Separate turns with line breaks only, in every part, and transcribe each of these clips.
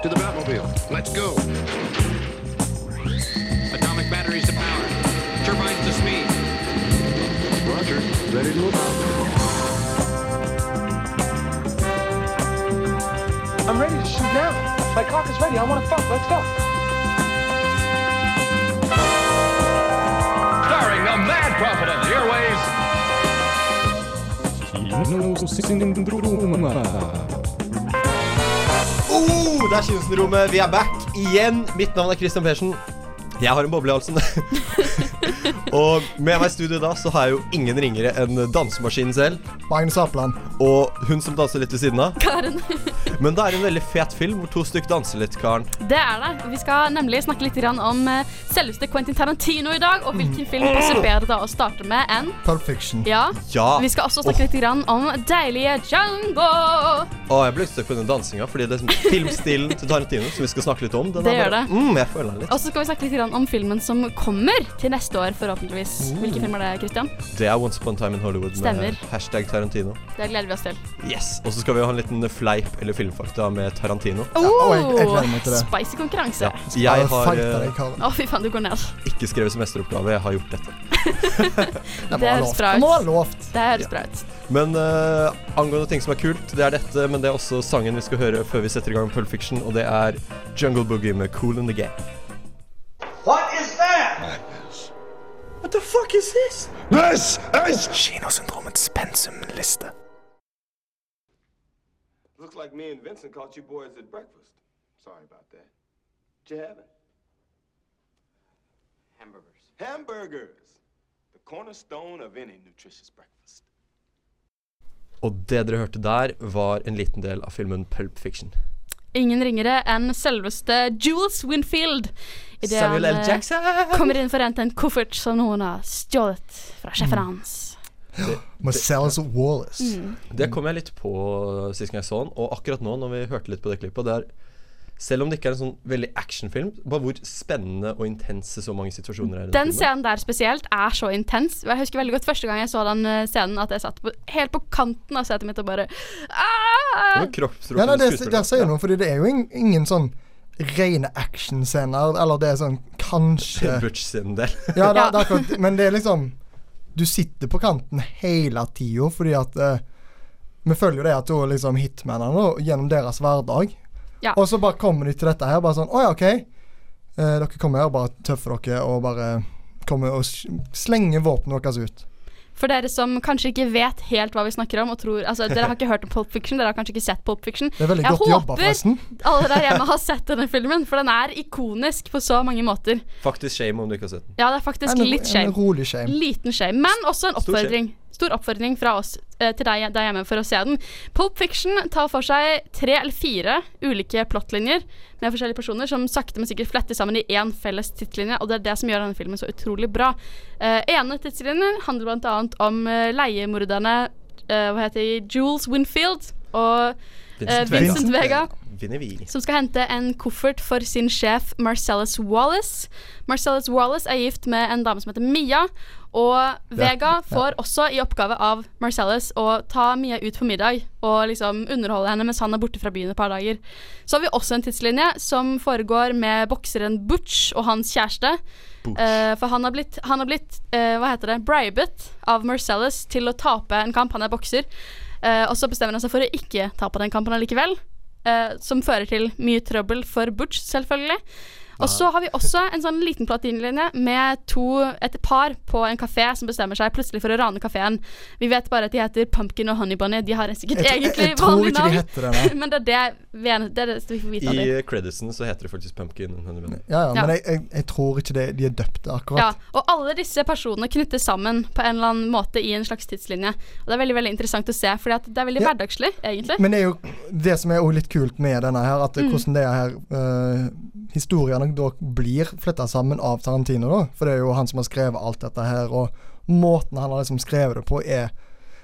to the Batmobile. Let's go.
Atomic batteries to power. Turbines to speed.
Roger. Ready to move out.
I'm ready to shoot now. My cock is ready. I want to fuck. Let's go.
starring the mad prophet of the airways,
Oh, det er Kinesen-rommet. Vi er back igjen. Mitt navn er Christian Persen. Jeg har en boble i halsen. og med meg i studio da, så har jeg jo ingen ringere enn dansemaskinen selv.
Magnus Apland.
Og hun som danser litt ved siden av.
Karen.
Men det er en veldig fet film hvor to stykk danser litt, Karen.
Det er det. Vi skal nemlig snakke litt grann om eh, selveste Quentin Tarantino i dag, og hvilken film passer bedre da å starte med enn
Pulp Fiction.
Ja.
Ja.
Vi skal også snakke litt grann om deilige Django.
Å, jeg ble litt stuck på den dansinga, fordi det er liksom filmstilen til Tarantino som vi skal snakke litt om. Den
Det
er
gjør det.
Mm, jeg føler den litt.
Og så skal vi snakke litt grann om filmen som kommer til neste år, forhåpentligvis. Hvilken film er det, Christian?
Det er Once Upon a Time in Hollywood
Stemmer.
med hashtag Tarantino.
Det gleder vi oss til.
Yes, Og så skal vi ha en liten fleip eller filmfakta med Tarantino.
og jeg- jeg gleder meg til det.
Spicy konkurranse.
Ja,
Å,
jeg
Bare
har
fight
eh,
deg, Karen.
fy faen, du går ned.
ikke skrevet semesteroppgave, jeg har gjort dette.
Det må
det
være
høres
lovt.
bra
Det må
ut.
være lovt.
Det høres bra ut.
Men eh, angående ting som er kult, det er dette, men det er også sangen vi skal høre før vi setter i gang Pulp Fiction, og det er Jungle Boogie med Cool in the Game.
What is that?
This is
Looks like me and Vincent caught you boys at breakfast. Sorry about that. What you having? Hamburgers. Hamburgers! The cornerstone of any nutritious breakfast.
Og det dere hørte der, var en liten del av filmen Pulp Fiction.
Ingen ringere enn selveste Jules Winfield. I det
Samuel
han,
L.
eh,
Jackson!
kommer inn for å hente en koffert som noen har stjålet fra
Mm.
sjefen hans.
Marcellus Wallace.
Mm.
Det kom jeg litt på sist gang jeg så den, og akkurat nå når vi hørte litt på det klippet, det er selv om det ikke er en sånn veldig actionfilm, bare hvor spennende og intense så mange situasjoner er. i
Den
filmen.
scenen der spesielt er så intens. Og Jeg husker veldig godt første gang jeg så den eh, scenen, at jeg satt på, helt på kanten av setet mitt og bare
Det
«Ah!»
var kroppsspråk
Ja, nei,
som
det,
skuespiller.
der sier du noe, fordi det er jo ing- ingen sånn rene actionscener, eller det er sånn
Ja.
kanskje
Butch sin del.
Ja, det,
Ja.
er- det er akkurat Men det er liksom Du sitter på kanten hele tida fordi at eh, Vi følger jo det at hun liksom hitmanene da, gjennom deres hverdag.
Ja.
Og så bare kommer de til dette her, bare sånn Å ja, OK. Eh, dere kommer her og bare tøffer dere og bare kommer og s- slenger våpenet deres ut.
For dere som kanskje ikke vet helt hva vi snakker om, og tror Altså, dere har ikke hørt om Pulp Fiction, dere har kanskje ikke sett Pulp Fiction.
Det er veldig
jeg
godt jobba, forresten.
håper alle der hjemme har sett denne filmen, for den er ikonisk på så mange måter.
Faktisk shame om du ikke har sett den.
Ja, det er faktisk
En-
litt
En
shame.
rolig shame.
Liten shame, men også en
Stor shame.
oppfordring. Stor oppfordring fra oss eh, til deg der hjemme for å se den. Pulp Fiction tar for seg tre eller fire ulike plottlinjer med forskjellige personer som sakte, men sikkert fletter sammen i én felles tidslinje, og det er det som gjør denne filmen så utrolig bra. Uh, ene tidslinjen handler bl.a. om eh, leiemorderne eh, Hva heter de? Jules Winfield og eh,
Vincent Vega. Eh,
Vincent Vega
Vinner vi.
som skal hente en koffert for sin sjef Marcellus Wallace. Marcellus Wallace er gift med en dame som heter Mia, og Vega får også i oppgave av Marcellus å ta Mia ut på middag og liksom underholde henne mens han er borte fra byen et par dager. Så har vi også en tidslinje som foregår med bokseren Butch og hans kjæreste. Eh, for han har blitt, han har blitt eh, hva heter det, bribet av Marcellus til å tape en kamp. Han er bokser. Eh, og så bestemmer han seg for å ikke tape den kampen allikevel. eh, som fører til mye trøbbel for Butch, selvfølgelig. Og så har vi også en sånn liten platinlinje med to, et par på en kafé som bestemmer seg plutselig for å rane kafeen. Vi vet bare at de heter Pumpkin og Honey Bunny. De har sikkert
Jeg, tr- jeg,
egentlig
jeg tror
vanlig
ikke de
navn.
heter det, nei.
Men det er det, vi er, det er det vi får vite av
I
dem.
eh, creditsen så heter det faktisk Pumpkin and Honey Bunny.
Ja,
Ja.
ja, men jeg, jeg, jeg tror ikke det, de er døpte,
Ja,
akkurat.
og alle disse personene knyttes sammen på en eller annen måte i en slags tidslinje. Og det er veldig veldig interessant å se, for det er veldig
Ja.
hverdagslig, egentlig.
Men det er jo det som er jo litt kult med denne her, at
Mm.
hvordan det her eh, Historiene da blir fletta sammen av Tarantino, da. For det er jo han som har skrevet alt dette her, og måten han har liksom skrevet det på, er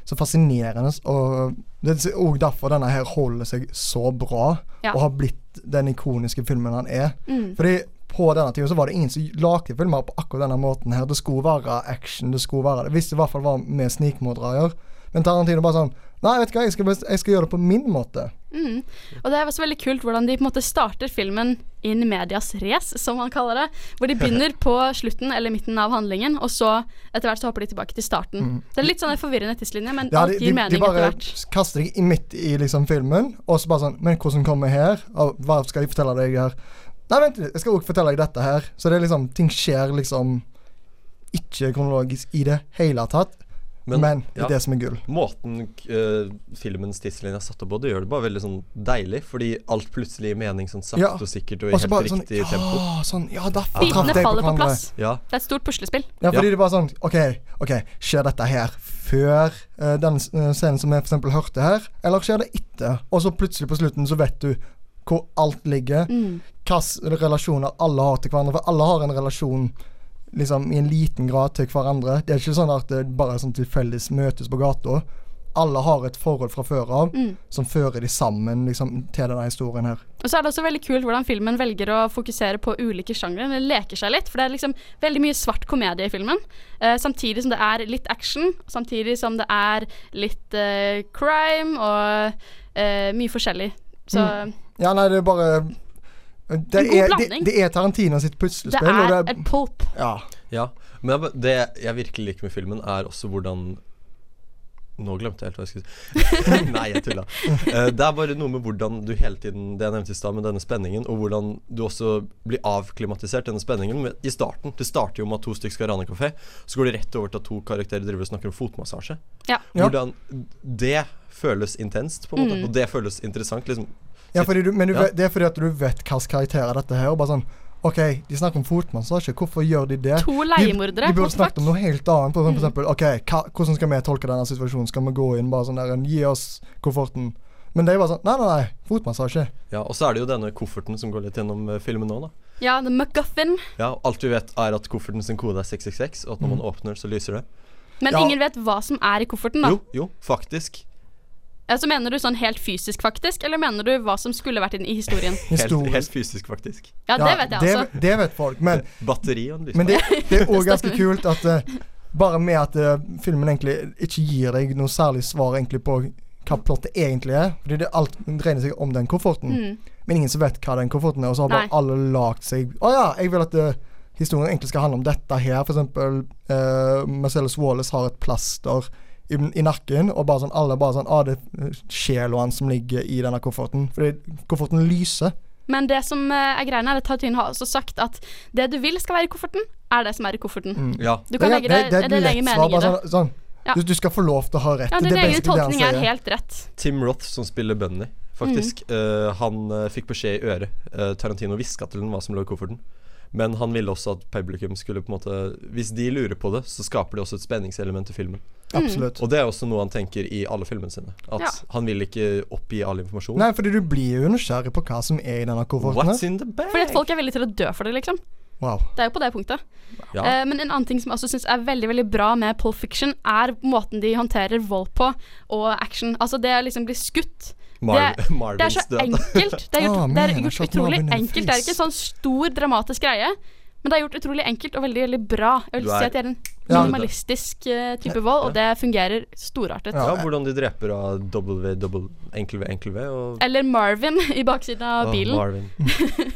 så fascinerende. Og det er òg derfor denne her holder seg så bra,
Ja. Mm.
og har blitt den ikoniske filmen han er. Fordi på denne tida så var det ingen som lagde filmer på akkurat denne måten her. Det skulle være action, det skulle være det. Hvis det i hvert fall var med snikmordere å gjøre. Men Tarantino bare sånn Nei, vet du hva, jeg skal, best- jeg skal gjøre det på min måte.
Mm. Og det er også veldig kult hvordan de på en måte starter filmen in medias race, som man kaller det. Hvor de begynner på slutten eller midten av handlingen, og så etter hvert så hopper de tilbake til starten. Det er litt sånn en forvirrende tidslinje, men
Mm. Ja,
alt
de,
gir
de, de
mening etter
bare
hvert.
kaster deg i- midt i liksom filmen, og så bare sånn Men hvordan kommer jeg her? Og hva skal jeg fortelle deg her? Nei, vent litt, jeg skal også fortelle deg dette her. Så det er liksom Ting skjer liksom ikke kronologisk i det hele tatt, men, det
ja.
er det som er gull.
Måten eh, filmens tidslinje er satt opp på, det gjør det bare veldig sånn deilig. Fordi alt plutselig gir mening sånn sakte
Ja.
og sikkert og i
Og så
helt
bare sånn
riktig tempo.
Ja, sånn, ja derfor traff
Bitene
jeg på
faller på
hverandre.
plass.
Ja.
Det er et stort puslespill.
Ja, fordi
Ja.
det er bare sånn OK, ok, skjer dette her før eh, den s- eh, scenen som jeg for eksempel hørte her, eller skjer det etter? Og så plutselig på slutten så vet du hvor alt ligger,
Mm.
hvilke relasjoner alle har til hverandre. For alle har en relasjon liksom i en liten grad til hverandre. Det er ikke sånn at det bare sånn tilfeldigvis møtes på gata. Alle har et forhold fra før av
Mm.
som fører de sammen liksom, til denne historien her.
Og så er det også veldig kult hvordan filmen velger å fokusere på ulike sjangre. Den leker seg litt, for det er liksom veldig mye svart komedie i filmen. Eh, samtidig som det er litt action, samtidig som det er litt eh, crime og eh, mye forskjellig. Så
Ja, nei, det er bare eh, Det,
En god
er, det,
blanding.
det er Tarantino
det
sitt puslespill.
er
og det,
et pulp.
ja.
Ja, men jeg- det jeg virkelig liker med filmen, er også hvordan Nå glemte jeg helt hva jeg skulle si. Nei, jeg tulla. Eh, det er bare noe med hvordan du hele tiden Det jeg nevnte i stad, med denne spenningen, og hvordan du også blir avklimatisert denne spenningen med, i starten. Det starter jo med at to stykker skal rane en kafé, så går det rett over til at to karakterer driver og snakker om fotmassasje.
Ja.
Ja.
Hvordan Det føles intenst, på en måte, og det føles interessant. liksom
Ja, fordi du, men du
Ja.
vet, det er fordi at du vet hvilke karakterer dette her. Og bare sånn OK, de snakker om fotmassasje. Hvorfor gjør de det?
To
De,
leiemordere
de burde
mot
snakket om
folk.
noe helt annet.
Mm.
For eksempel, OK, hva, hvordan skal vi tolke denne situasjonen? Skal vi gå inn bare sånn der en, Gi oss kofferten. Men det er bare sånn Nei, nei, nei. Fotmassasje.
Ja, Og så er det jo denne kofferten som går litt gjennom eh, filmen nå, da.
Ja, The McGuffin.
Ja, og Alt vi vet, er at kofferten sin kode er 666, og at når
Mm.
man åpner, så lyser det.
Men
Ja.
ingen vet hva som er i kofferten, da.
Jo, jo, faktisk.
Altså, mener du sånn helt fysisk, faktisk, eller mener du hva som skulle vært inn i historien?
Helt,
Historisk.
helt fysisk, faktisk.
Ja, det vet jeg, altså.
Det, det vet folk. Men
Batteri og en lyspære.
Men det, det er òg ganske kult at eh, bare med at eh, filmen egentlig ikke gir deg noe særlig svar egentlig på hva plottet egentlig er. Fordi det alt dreier seg om den kofferten. Men ingen som vet hva den kofferten er, og så har bare
Nei.
alle lagd seg Å ja, jeg vil at eh, historien egentlig skal handle om dette her. For eksempel uh, Marcellus Wallace har et plaster i, i nakken, og bare sånn, alle bare sånn Å, det er sjela hans som ligger i denne kofferten. Fordi kofferten lyser.
Men det som eh, er greia, er at Tartin har også sagt at det du vil skal være i kofferten, er det som er i kofferten.
Ja.
Du kan
Mm. Ja,
legge det, det,
et
det
lett
legger
svar,
mening i
bare
det.
Sånn, sånn.
Ja.
Du, du skal få lov til å ha rett.
Ja,
Det
Din
er
egen
basically det han
tolkning er
sier.
helt rett.
Tim Roth, som spiller Bunny,
Mm.
faktisk, eh, han eh, fikk beskjed i øret. Eh, Tarantino hviska til den hva som lå i kofferten. Men han ville også at publikum skulle på en måte Hvis de lurer på det, så skaper det også et spenningselement i filmen.
mm.
Absolutt.
Og det er også noe han tenker i alle filmene sine. At
Ja.
han vil ikke oppgi all informasjon.
Nei, fordi du blir jo nysgjerrig på hva som er i denne kofferten.
What's
her.
in the bag?
Fordi at folk er villige til å dø for det, liksom.
Wow.
Det er jo på det punktet.
Ja.
Eh, men en annen ting som jeg også syns er veldig veldig bra med Pole Fiction, er måten de håndterer vold på, og action. Altså det å liksom bli skutt.
Mar-
det, er- det er
Marvins
så
død.
enkelt. Det er gjort,
Ah,
det er
man, I
gjort
shot
utrolig
Marvin in the
enkelt. Det er ikke
face.
en sånn stor, dramatisk greie. Men det er gjort utrolig enkelt og veldig veldig bra. Jeg vil
Du
si
er-
at det er en
Ja.
minimalistisk eh, type vold, og det fungerer storartet.
Ja, hvordan de dreper av W, double, enkel V, enkel V og
Eller Marvin i baksiden av
Åh,
bilen.
Marvin.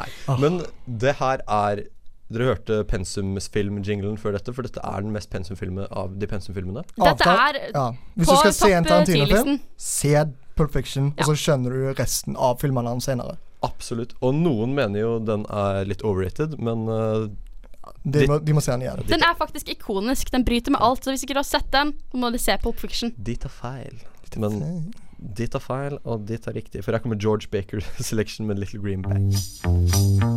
Nei. Men det her er Dere hørte pensumfilm-jinglen før dette, for dette er den mest pensumfilme av de pensumfilmene.
Dette
Avtale-
er
ja. Hvis
på
du skal se
topp,
en
eh,
Tarantino-film,
ti-listen.
se Pulp Fiction, og så skjønner du resten av filmene hans senere.
Absolutt. Og noen mener jo den er litt overrated, men eh,
De,
Det-
må, de må se den igjen.
Den er faktisk ikonisk. Den bryter med alt. Så hvis ikke du har sett den, så må du se Pulp Fiction.
de tar feil. Men de tar feil, og de tar riktig. For her kommer George Baker Selection med Little Green Bag.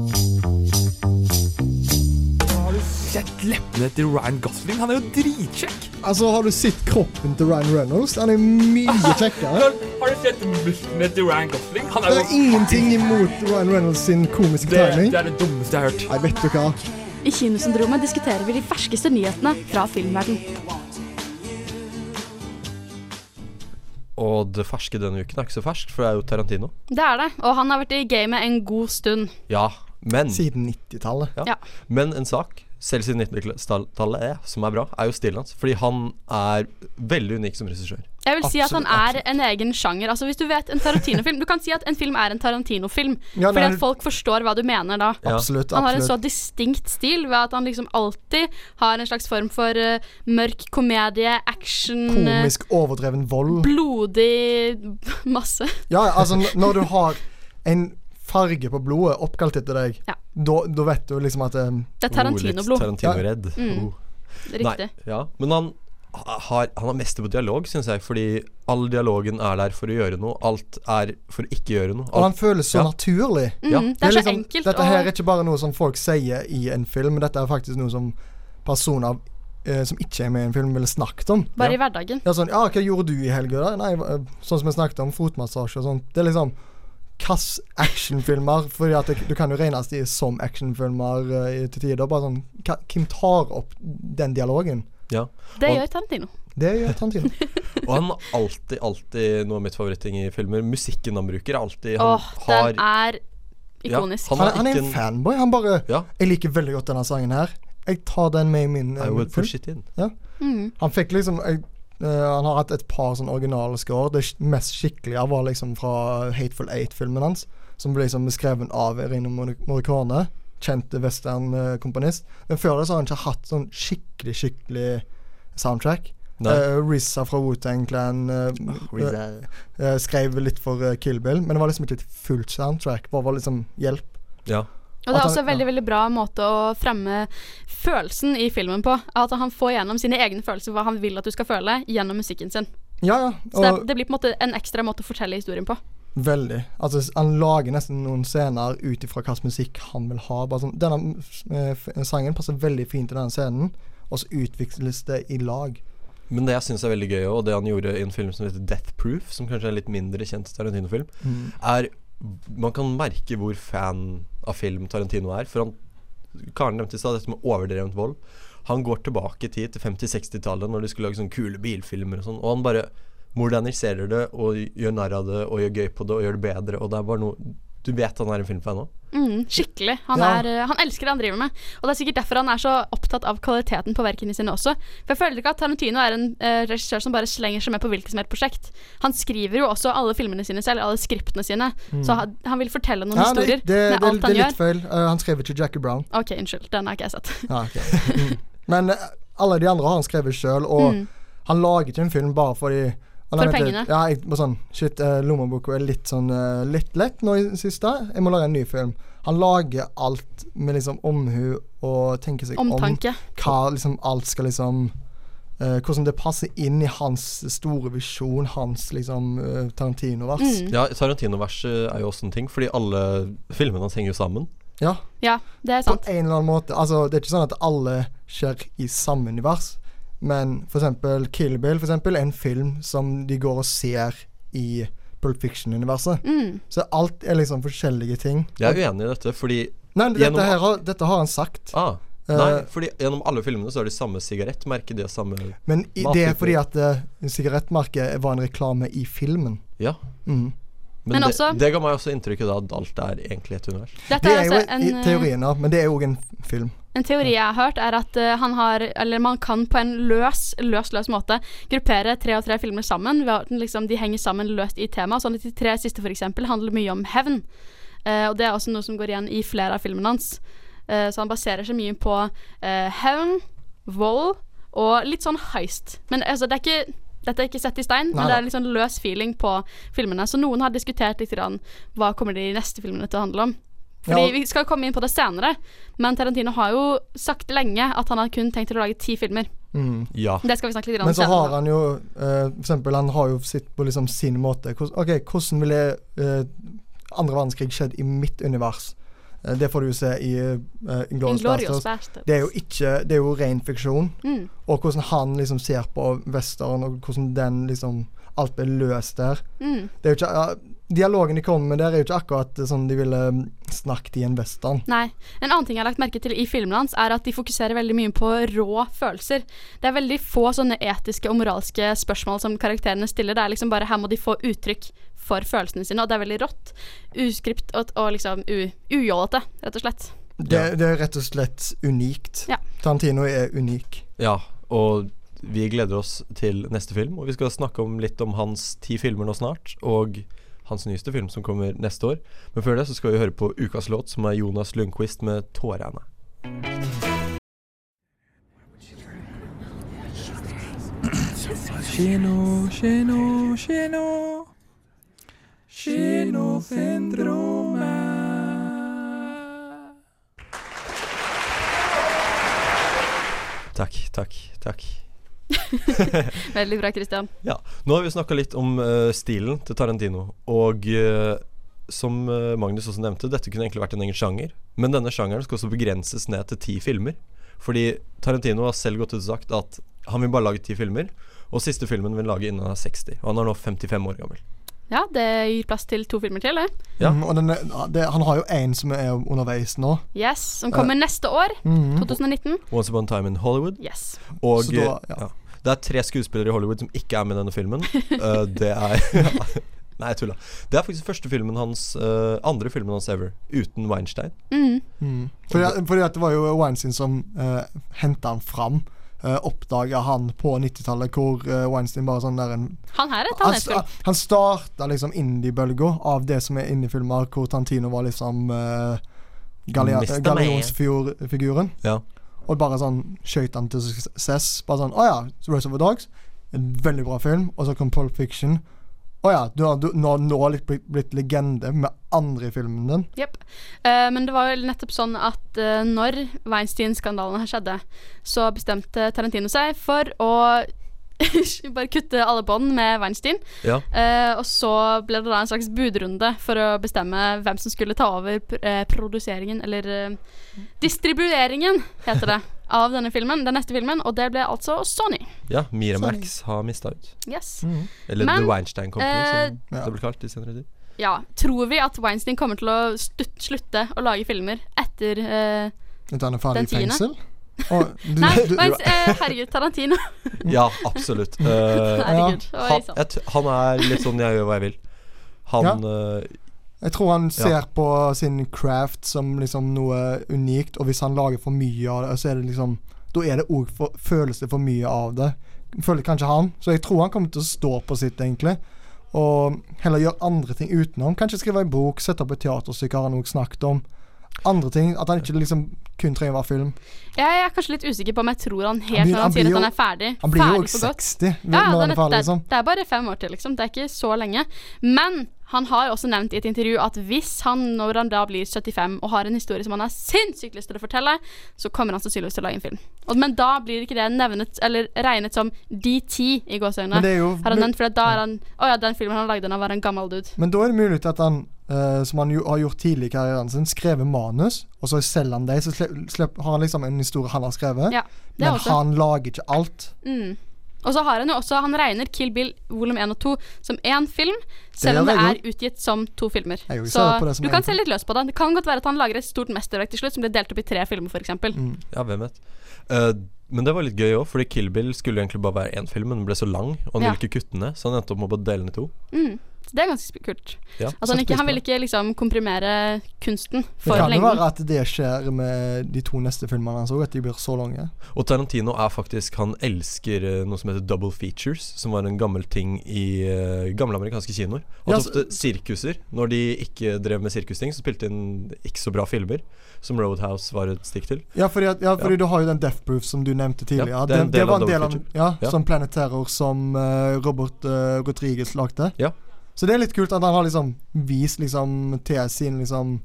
Altså, har du sett kroppen til Ryan Reynolds? Han er mye kjekkere.
Har du sett musklene til Ryan Gosling? Han
Det er ingenting imot Ryan Reynolds sin komiske tegning.
er det dummeste jeg har hørt.
Nei, vet du hva.
I Kinosyndromet diskuterer vi de ferskeste nyhetene fra filmverden.
Og det ferske denne uken er ikke så ferskt, for det er jo Tarantino.
Det er det. Og han har vært i gamet en god stund.
Ja, men
Siden 90-tallet.
ja.
Ja.
Men en sak selv siden 1900-tallet, eh, som er bra, er jo stilen hans. Fordi han er veldig unik som regissør.
Jeg vil si at han
Absolutt,
er en egen sjanger. Altså Hvis du vet en Tarantino-film Du kan si at en film er en Tarantino-film,
Ja,
fordi
nei,
at folk forstår hva du mener da.
Ja.
Absolutt.
Han har en så
absolutt.
distinkt stil ved at han liksom alltid har en slags form for eh, mørk komedie, action, eh,
Komisk, overdreven vold.
blodig masse.
Ja, altså n- når du har en farge på blodet oppkalt etter deg,
Ja.
da, da vet du liksom at eh,
Det er Tarantino-blod.
Tarantino-redd.
Mm.
Oh.
Riktig.
Nei, ja. Men han har, han er mester på dialog, syns jeg. Fordi all dialogen er der for å gjøre noe. Alt er for å ikke gjøre noe.
Og han
Alt,
føles så
Ja.
naturlig.
Mm,
Ja.
Det er så
liksom,
enkelt.
Dette her
og-
er ikke bare noe som folk sier i en film, dette er faktisk noe som personer eh, som ikke er med i en film, ville snakket om.
Bare
Ja.
i hverdagen.
Ja, sånn, ja, hva gjorde du i helga? da? Nei, eh, sånn som vi snakket om, fotmassasje og sånt. Det er liksom Hvilke actionfilmer? Fordi at det, du kan jo regnes de som actionfilmer eh, i- til tider. Bare sånn hva- Hvem tar opp den dialogen?
ja.
Det
Og-
gjør Tarantino.
Det gjør Tarantino.
Og han har alltid, alltid noe av mitt favoritting i filmer. Musikken han bruker, er alltid Han
Åh,
har
den er ikonisk.
han
Han,
er
er- han er
ikke
en
en-
fanboy. Han bare
Ja.
Jeg liker veldig godt denne sangen her. Jeg tar den med i min eh,
I will
film.
push it in.
Han fikk liksom jeg, eh, Han har hatt et par sånn originale score. Det sk- mest skikkelige var liksom fra Hateful Eight-filmen hans, som ble liksom beskrevet av Erino Mor- Morricone, kjent westernkomponist. Men før det så har han ikke hatt sånn skikkelig, skikkelig soundtrack.
Nei.
Eh, RZA fra Wu-Tang Clan eh, eh, eh, skrev litt for eh, Kill Bill, men det var liksom ikke et fullt soundtrack. Bare var liksom hjelp.
Ja.
Og det
At
er
han-
også en veldig
ja.
veldig bra måte å fremme følelsen i filmen på. At han får gjennom sine egne følelser hva han vil at du skal føle, gjennom musikken sin.
Ja, ja.
Så det,
og-
det blir på en måte en ekstra måte å fortelle historien på.
Veldig. Altså, s- han lager nesten noen scener ut ifra hvilken musikk han vil ha. Bare sånn, denne eh, f- sangen passer veldig fint til denne scenen, og så utvikles det i lag.
Men det jeg syns er veldig gøy, og det han gjorde i en film som heter Death Proof, som kanskje er en litt mindre kjent Tarantino-film, er Man kan merke hvor fan av film Tarantino er. For han Karen nevnte i stad dette med overdrevent vold. Han går tilbake i tid til 50-60-tallet, når de skulle lage sånne kule bilfilmer og sånn, og han bare moderniserer det og gjør narr av det og gjør gøy på det og gjør det bedre, og det er bare noe Du vet han er en filmfan òg?
Mm, skikkelig. Han,
Ja.
er, eh, han elsker det han driver med. Og det er sikkert derfor han er så opptatt av kvaliteten på verkene sine også. For jeg føler ikke at Tarantino er en eh, regissør som bare slenger seg med på hvilket som helst prosjekt. Han skriver jo også alle filmene sine selv, alle skriptene sine. Så han, han vil fortelle noen
Mm. Ja, nei,
historier
det, det,
med
det,
alt
er
han
litt
gjør.
feil. Eh, han skrev ikke Jackie Brown.
OK, unnskyld. Den har ikke jeg sett.
Ja, ok. mm. Men eh, alle de andre har han skrevet sjøl, og han lager ikke en film bare fordi å, nei,
Mm. For
vent litt.
pengene.
Ja, jeg, bare sånn, shit, eh, lommeboka er litt sånn eh, litt lett nå i det siste. Jeg må lage en ny film. Han lager alt med liksom omhu og tenker seg om.
Omtanke.
hva liksom alt skal liksom eh, Hvordan det passer inn i hans store visjon, hans liksom eh,
Mm.
Tarantino-vers.
Ja, Tarantino-verset er jo også en ting, fordi alle filmene hans henger jo sammen.
Ja,
Ja, det er
på
sant.
en eller annen måte. Altså, det er ikke sånn at alle skjer i samme univers, men for eksempel Kill Bill for eksempel, er en film som de går og ser i Pulp Fiction-universet.
Mm.
Så alt er liksom forskjellige ting.
Jeg er uenig i dette, fordi
Nei, men dette,
Gjennom-
her, har- dette har han sagt,
Ah, nei,
Eh,
fordi gjennom alle filmene så er det samme sigarettmerke, de har samme
men i, det er
matuttrykk.
fordi at eh, sigarettmerket var en reklame i filmen.
Ja.
Mhm.
Men,
Men
det,
også-
det ga meg også inntrykket da at alt er egentlig et univers.
Dette
Det
er
er jo
altså
i
en, eh,
teorien, da, men det er jo òg en film.
En teori jeg har hørt, er at eh, han har, eller man kan på en løs, løs, løs måte gruppere tre og tre filmer sammen. Ved at den liksom, de henger sammen løst i tema. Sånn at de tre siste for eksempel handler mye om hevn. Eh, og det er også noe som går igjen i flere av filmene hans. Eh, så han baserer seg mye på eh, hevn, vold og litt sånn heist. Men altså, det er ikke dette er ikke sett i stein,
Nei,
men det
nei.
er litt sånn løs feeling på filmene. Så noen har diskutert litt grann, hva kommer de neste filmene til å handle om. Fordi
Ja, og-
Vi skal komme inn på det senere, men Tarantino har jo sagt lenge at han har kun tenkt til å lage ti filmer.
Ja.
Det skal vi snakke litt grann
Men
om
så har
senere.
han jo eh, For eksempel, han har jo sitt på liksom sin måte. Hvordan, ok, hvordan ville eh, andre verdenskrig skjedd i mitt univers? Eh, det får du jo se i uh, Inglorious
Inglorious
Bastards.
Bastards.
Det er jo ikke Det er jo ren fiksjon.
Mm.
Og hvordan han liksom ser på western, og hvordan den liksom Alt ble løst der.
Mm.
Det er jo ikke ja, Dialogen de kommer med der, er jo ikke akkurat eh, sånn de ville mm, snakket i en western.
Nei. En annen ting jeg har lagt merke til i filmene hans, er at de fokuserer veldig mye på rå følelser. Det er veldig få sånne etiske og moralske spørsmål som karakterene stiller. Det er liksom bare her må de få uttrykk for følelsene sine, og det er veldig rått. Uskript og, og liksom u- ujålete, rett og slett.
Det, det er rett og slett unikt.
Ja.
Tarantino er unik.
Ja, og vi gleder oss til neste film, og vi skal snakke om litt om hans ti filmer nå snart, og hans nyeste film som kommer neste år. Men før det så skal vi høre på ukas låt, som er Jonas Lundquist med 'Tårene'. Takk, takk, takk.
Veldig bra, Christian.
Ja, nå har vi snakka litt om eh, stilen til Tarantino, og eh, som eh, Magnus også nevnte, dette kunne egentlig vært en egen sjanger, men denne sjangeren skal også begrenses ned til ti filmer. Fordi Tarantino har selv gått ut og sagt at han vil bare lage ti filmer, og siste filmen vil han lage innen han er 60, og han er nå 55 år gammel.
Ja, det gir plass til to filmer til, det.
Ja.
Mm, og den er, ja, det, han har jo én som er underveis nå.
Yes, Som kommer neste år.
Mhm.
2019.
Once Upon a Time in Hollywood.
Yes.
Og
Så da-
ja.
ja.
Det er tre skuespillere i Hollywood som ikke er med i denne filmen. Eh, det er Nei, jeg tulla. Det er faktisk første filmen hans eh, andre filmen hans ever uten Weinstein.
Fordi, at- fordi at det var jo Weinstein som uh, henta han fram. Uh, Oppdaga han på 90-tallet, hvor eh, Weinstein bare sånn der en
Han her er
Han,
Tanneskull.
sta- han starta liksom indie-bølga av det som er indie-filmer, hvor Tantino var liksom uh,
Mr. Man.
gallionsfiguren.
Ja.
Og bare sånn skjøt han til suksess. Bare sånn Å ja, Reservoir Dogs. En veldig bra film. Og så kom Pulp Fiction. Å ja, du har du- nå, nå har litt blitt, blitt legende med andre i filmen din.
Jep. Eh, men det var jo nettopp sånn at eh, når Weinstein-skandalen her skjedde, så bestemte Tarantino seg for å bare kutte alle bånd med Weinstein.
Ja.
Eh, og så ble det da en slags budrunde for å bestemme hvem som skulle ta over pr eh, produseringen, eller eh, distribueringen, heter det, av denne filmen, den neste filmen, og det ble altså Sony.
ja Mira Merx har mista ut.
Yes.
Eller
Men,
The Weinstein Company, som
eh,
det ble kalt i senere tid.
Ja, tror vi at Weinstein kommer til å stutt, slutte å lage filmer etter eh,
Vet du, han er ferdig
Den
i
tiende?
fengsel. Og du,
Nei,
du,
Weinstein, eh, herregud, Tarantino.
Ja, absolutt. Eh,
Herregud. liksom- Oi
han,
sann.
jeg, t- han er litt sånn 'jeg gjør hva jeg vil'. Han eh,
jeg tror han ser på sin craft som liksom noe unikt, og hvis han lager for mye av det, så er det liksom Da er det òg Føles det for mye av det. Føler kanskje han. Så jeg tror han kommer til å stå på sitt, egentlig. Og heller gjøre andre ting utenom. Kanskje skrive en bok, sette opp et teaterstykke, har han òg snakket om. Andre ting. At han ikke liksom kun trenger å være film.
Jeg er kanskje litt usikker på om jeg tror han helt
Han blir-
når
han
han sier at
blir jo-
han er ferdig.
Han blir jo
ferdig
òg
for godt.
60
Ja,
når
det,
han
er
er
nett-
ferdig,
det,
liksom.
er- det er bare fem år til, liksom. Det er ikke så lenge. Men han har også nevnt i et intervju at hvis han, når han da blir 75 og har en historie som han har sinnssykt lyst til å fortelle, så kommer han sannsynligvis til å lage en film. Og, men da blir ikke det nevnet, eller regnet som DT i
Men det
gåseøynene.
er jo
Har han nevnt, for da er han Å ja, den filmen han lagde da han var en gammel dude.
Men da er det mulig at han, eh, som han jo, har gjort tidlig i karrieren sin, skrevet manus, og så selger han det. Så slipp, slipp, har han liksom en historie han har skrevet,
Ja, det
men
er også.
han lager ikke alt.
Mm. Og så har han jo også Han regner Kill Bill volum 1 og 2 som én film,
gjør
selv om det
jeg
er utgitt som to filmer.
Jeg gjør ikke
Så
så på det som
du
en
kan se
film.
litt løs på det. Det kan godt være at han lager et stort mesterverk til slutt som blir delt opp i tre filmer, f.eks. Mm.
Ja, hvem vet. Eh, men det var litt gøy òg, fordi Kill Bill skulle egentlig bare være én film, men den ble så lang, og han
Ja.
ville ikke kutte den ned, så han endte opp med å bare dele den i to.
Så det er ganske sp- kult.
Ja,
Altså, han,
setter
ikke,
pris
han
på
vil
det.
ikke liksom komprimere kunsten
Det
for
kan jo
lenge.
være at det skjer med de to neste filmene hans òg, at de blir så lange.
Og Tarantino er faktisk Han elsker eh, noe som heter double features, som var en gammel ting i eh, gamle amerikanske kinoer. At
Ja, så-
ofte sirkuser, når de ikke drev med sirkusting, så spilte de inn ikke så bra filmer, som Roadhouse var et stikk til.
Ja, fordi, at, ja, fordi du har jo den Death Proof som du nevnte tidligere.
Ja, det
det,
er en
det,
del
var
av
en del av
Double
ja,
Ja.
Som Planet Terror som eh, Robert uh, Rodriguez lagde.
Ja.
Så det er litt kult at han har liksom vist liksom til sin liksom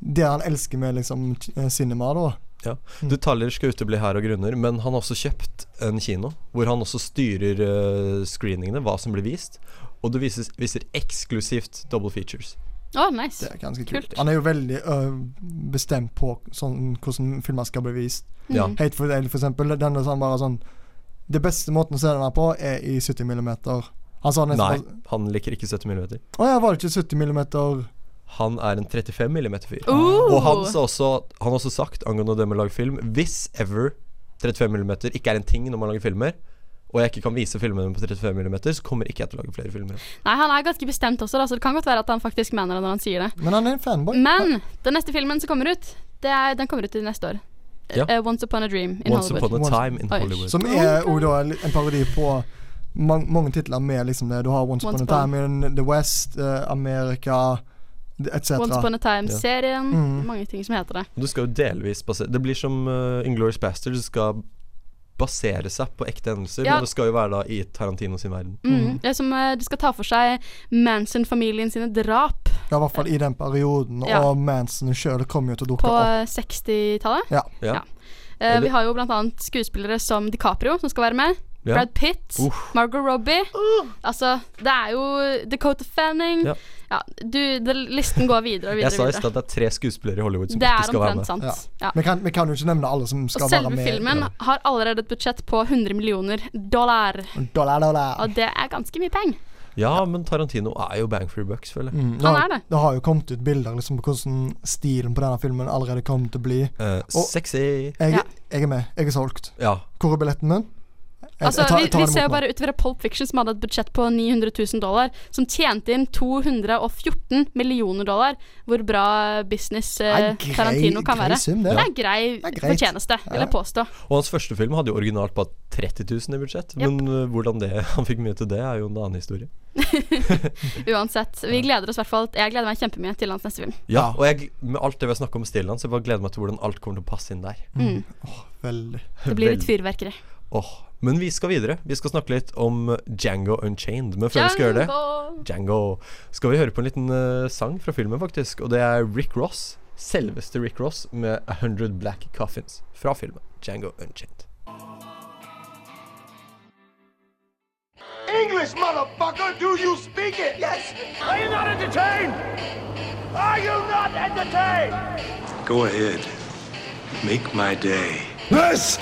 Det han elsker med liksom eh, cinema, da.
Ja.
Mm.
Detaljer skal utebli her av grunner, men han har også kjøpt en kino hvor han også styrer eh, screeningene, hva som blir vist, og det vises, viser eksklusivt double features.
Å, nice.
Det er ganske
Kult.
kult. Han er jo veldig ø, bestemt på sånn, hvordan filmer skal bli vist.
Ja.
Hateful Eight, for eksempel. Den er sånn bare sånn Det beste måten å se den her på, er i 70 millimeter. Han sa
Nei,
nesten
han liker ikke 70 mm.
bare, Å ja, var det ikke 70 millimeter
Han er en 35 mm-fyr.
Oh!
Og han sa også Han har også sagt angående det med å lage film Hvis ever 35 mm ikke er en ting når man lager filmer, og jeg ikke kan vise filmene på 35 mm, så kommer ikke jeg til å lage flere filmer.
Nei, han er ganske bestemt også, da, så det kan godt være at han faktisk mener det når han sier det.
Men han er en fanboy.
Men den neste filmen som kommer ut, Det er, den kommer ut til neste år.
Ja.
Eh, Once Upon a Dream in
Once
Hollywood.
upon a
Once-
time in
Oi.
Hollywood.
Som er jo da en parodi på mang mange titler med liksom det. Du har Once,
Once
Upon a Time in the West, eh, Amerika etc.
Once Upon a
Ja.
Time-serien.
Mm.
Mange ting som heter det.
Du skal jo delvis basere Det blir som uh, Inglorious Bastard. Du skal basere seg på ekte hendelser,
Ja.
men det skal jo være da i Tarantino sin verden.
Mm. Det er som eh, de skal ta for seg Manson-familien sine drap
Ja, i hvert fall i den perioden.
Ja.
Og Manson sjøl kom jo til å dukke
på
opp.
eh, 60-tallet.
Ja.
Ja.
Ja. Eh,
Eller-
vi har jo blant annet skuespillere som DiCaprio, som skal være med.
Ja.
Brad Pitt,
Uff. Uh.
Margot Robbie. Altså, det er jo Dakota Fanning.
Ja.
Ja. du, det, listen går videre og videre.
Jeg sa i
videre.
stad at det er tre skuespillere i Hollywood som
Det
ikke
er
skal være med.
omtrent sant.
Ja.
Ja.
Vi kan, vi kan jo ikke nevne alle som skal
Og
være
selve
med.
filmen har allerede et budsjett på 100 millioner dollar.
Dollar, dollar.
Og det er ganske mye penger.
Ja, men Tarantino er jo bang for your bucks, føler jeg.
Mm, det,
Han
har,
er det.
det har jo kommet ut bilder liksom, på hvordan stilen på denne filmen allerede kommer til å bli.
Eh,
Og-
sexy.
Jeg,
Ja.
jeg er med. Jeg er solgt.
Ja.
Hvor er billetten min? Jeg,
Altså,
jeg tar-
vi,
jeg tar
vi
den
ser jo
imot nå.
bare utover Pulp Fiction, som hadde et budsjett på 900 000 dollar, som tjente inn 214 millioner dollar. Hvor bra business eh,
Det er grei-
Tarantino kan
grei
være.
sum, det.
det er grei
Det er greit.
fortjeneste, vil jeg påstå.
Og hans første film hadde jo originalt bare 30 000 i budsjett,
Jep.
men eh, hvordan det, han fikk mye til det, er jo en annen historie.
Uansett. Vi gleder oss i hvert fall Jeg gleder meg kjempemye til hans neste film.
Ja, og jeg, med alt det vi har snakket om Stillan, så jeg bare gleder meg til hvordan alt kommer til å passe inn der.
Mm.
Veldig.
Det blir litt
Veldig.
fyrverkeri.
Åh, Men vi skal videre. Vi skal snakke litt om Django Unchained. Men før vi skal gjøre det,
Django!
Django, skal vi høre på en liten eh, sang fra filmen, faktisk. Og det er Rick Ross, selveste Rick Ross, med 100 Black Coffins fra filmen Django Unchained.
English, motherfucker! Do you speak it? Yes! Are you not entertained? Are you not entertained?
Go ahead. Make my day.
Does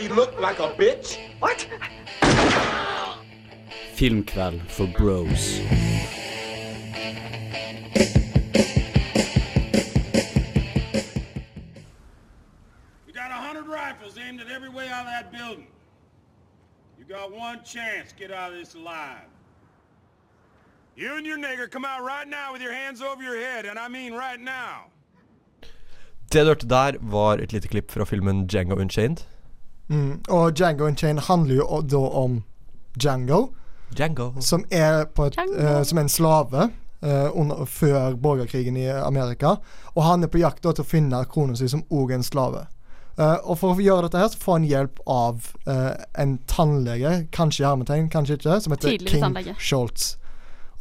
he look like a bitch? What?
Filmkveld for bros.
We got a hundred rifles aimed at every way out of that building. You got one chance. Get out of this alive. You and your nigger come out right now with your hands over your head, and I mean right now.
Det du hørte der, var et lite klipp fra filmen Django Unchained.
Mm. Og Django Unchained handler jo o- da om Django,
Django.
som er, på et,
Django.
eh, som er en slave eh, under, før borgerkrigen i Amerika. Og han er på jakt da, til å finne kona si, som òg er en slave. Eh, og for å gjøre dette her, så får han hjelp av eh, en tannlege, kanskje i hermetegn, kanskje ikke, som heter
Tidligere
King
tannlege.
Schultz.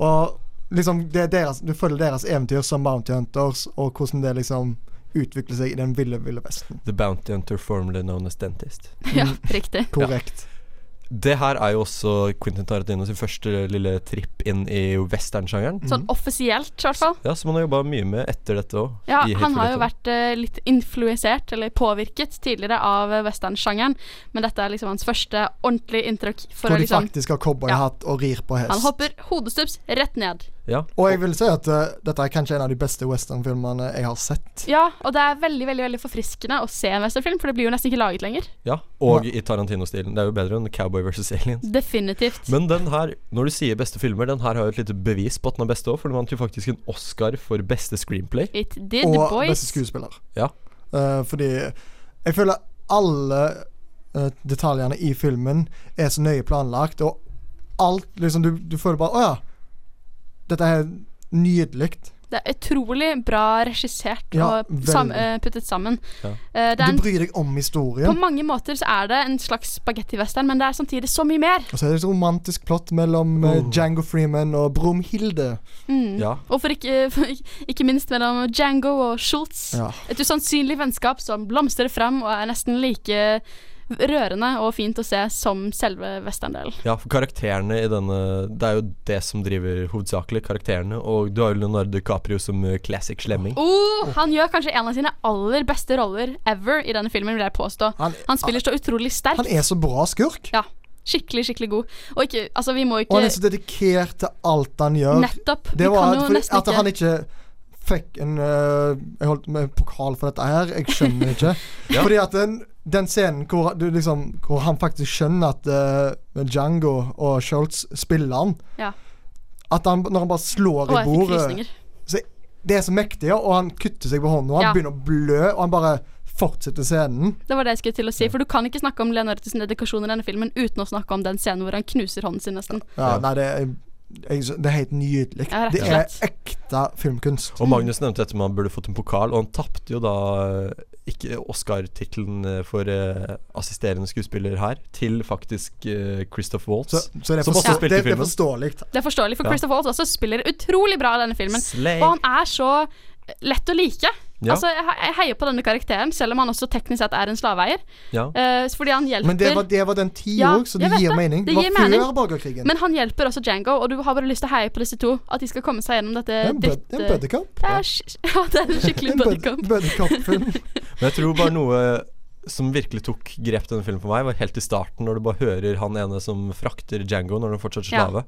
Og liksom, det er deres, du følger deres eventyr som Bounty Hunters, og hvordan det liksom utvikler seg i den ville, ville vesten.
The Bounty Hunter, formerly known as Dentist.
Ja, riktig.
Korrekt.
Det her er jo også Quentin Tarantino sin første lille tripp inn i western-sjangeren.
Sånn
Mm.
offisielt, i hvert fall.
Ja, som han har jobba mye med etter dette òg.
Ja, han har jo vært eh, litt influensert, eller påvirket, tidligere av eh, western-sjangeren. Men dette er liksom hans første ordentlige inntrykk for å
Hvor de
liksom
faktisk har cowboyhatt og rir på hest.
Han hopper hodestups rett ned.
Ja.
Og jeg vil si at eh, dette er kanskje en av de beste westernfilmene jeg har sett.
Ja, og det er veldig, veldig veldig forfriskende å se en westernfilm, for det blir jo nesten ikke laget lenger.
ja. Og i Tarantino-stilen. Det er jo bedre enn Cowboy versus Aliens.
Definitivt.
Men den her, når du sier beste filmer, den her har jo et lite bevis på at den er beste òg, for den vant jo faktisk en Oscar for beste screenplay.
It did,
Og
boys.
beste skuespiller.
Ja.
Eh, fordi jeg føler alle eh, detaljene i filmen er så nøye planlagt, og alt liksom Du, du føler bare Å ja. Dette er nydelig.
Det er utrolig bra regissert
Ja,
og sam
veldig.
eh, puttet sammen.
Ja.
Eh, det
Du
er en,
bryr deg om
på
historien.
mange måter så er det en slags spagetti-western, men det er samtidig så mye mer.
Og så er det et romantisk plott mellom eh, Django Freeman og Brumhilde.
Ja.
Og for ikke, for ikke- ikke minst mellom Django og Schultz.
Ja.
Et usannsynlig vennskap som blomstrer frem og er nesten like rørende og fint å se som selve westerndelen.
Ja, for karakterene i denne Det er jo det som driver hovedsakelig karakterene. Og du har jo Leonardo DiCaprio som eh, classic slemming.
Oh, han gjør kanskje en av sine aller beste roller ever i denne filmen, vil jeg påstå.
Han-
Han, spiller så utrolig sterkt.
Han er så bra skurk.
Ja, skikkelig, skikkelig god. Og ikke, altså, vi må
Og
ikke
han er så dedikert til alt han gjør.
Nettopp.
Det
vi
var
kan jo
fordi
nesten
at han
ikke
ikke fikk en øh, Jeg holdt med pokal for dette her. Jeg skjønner ikke. Fordi at den, den scenen hvor, du liksom, hvor han faktisk skjønner at øh, Django og Schultz spiller han
Ja.
At han, når han bare slår
Å,
i
jeg fikk
bordet
frysninger.
så Det er så mektig, og han kutter seg på hånden, og han
Ja.
begynner å blø, og han bare fortsetter scenen.
Det var det jeg skulle til å si, for du kan ikke snakke om Leonardo sin dedikasjon i denne filmen uten å snakke om den scenen hvor han knuser hånden sin, nesten.
Ja, Nei, det er, jeg- det er helt nydelig.
Ja, rett og
det er
slett.
ekte filmkunst.
Og Magnus nevnte dette med han burde fått en pokal, og han tapte jo da eh, ikke Oscar-tittelen eh, for eh, assisterende skuespiller her, til faktisk eh, Christoph Waltz,
Så, så det er,
som
forstå
også
det,
spilte i
det er
filmen.
forståelig.
Det er forståelig, for
Ja.
Christopher Waltz også spiller utrolig bra i denne filmen.
Slay.
Og han er så eh, lett å like.
Ja.
Altså, jeg jeg heier på denne karakteren, selv om han også teknisk sett er en slaveeier.
Ja.
Eh, fordi han hjelper
Men det var, det var den tida
Ja,
òg, så det
jeg vet
gir
det.
mening.
Det
Det var
gir
før
mening.
borgerkrigen.
Men han hjelper også Django, og du har bare lyst til å heie på disse to. At de skal komme seg gjennom dette
det er en bud-
dritt...
det er en buddycop.
det er, sk- ja, det er en skikkelig
En bud-
buddycop.
buddycop-film.
Men jeg tror bare noe eh, som virkelig tok grep denne filmen for meg, var helt i starten, når du bare hører han ene som frakter Django når han fortsatt er
Ja.
slave.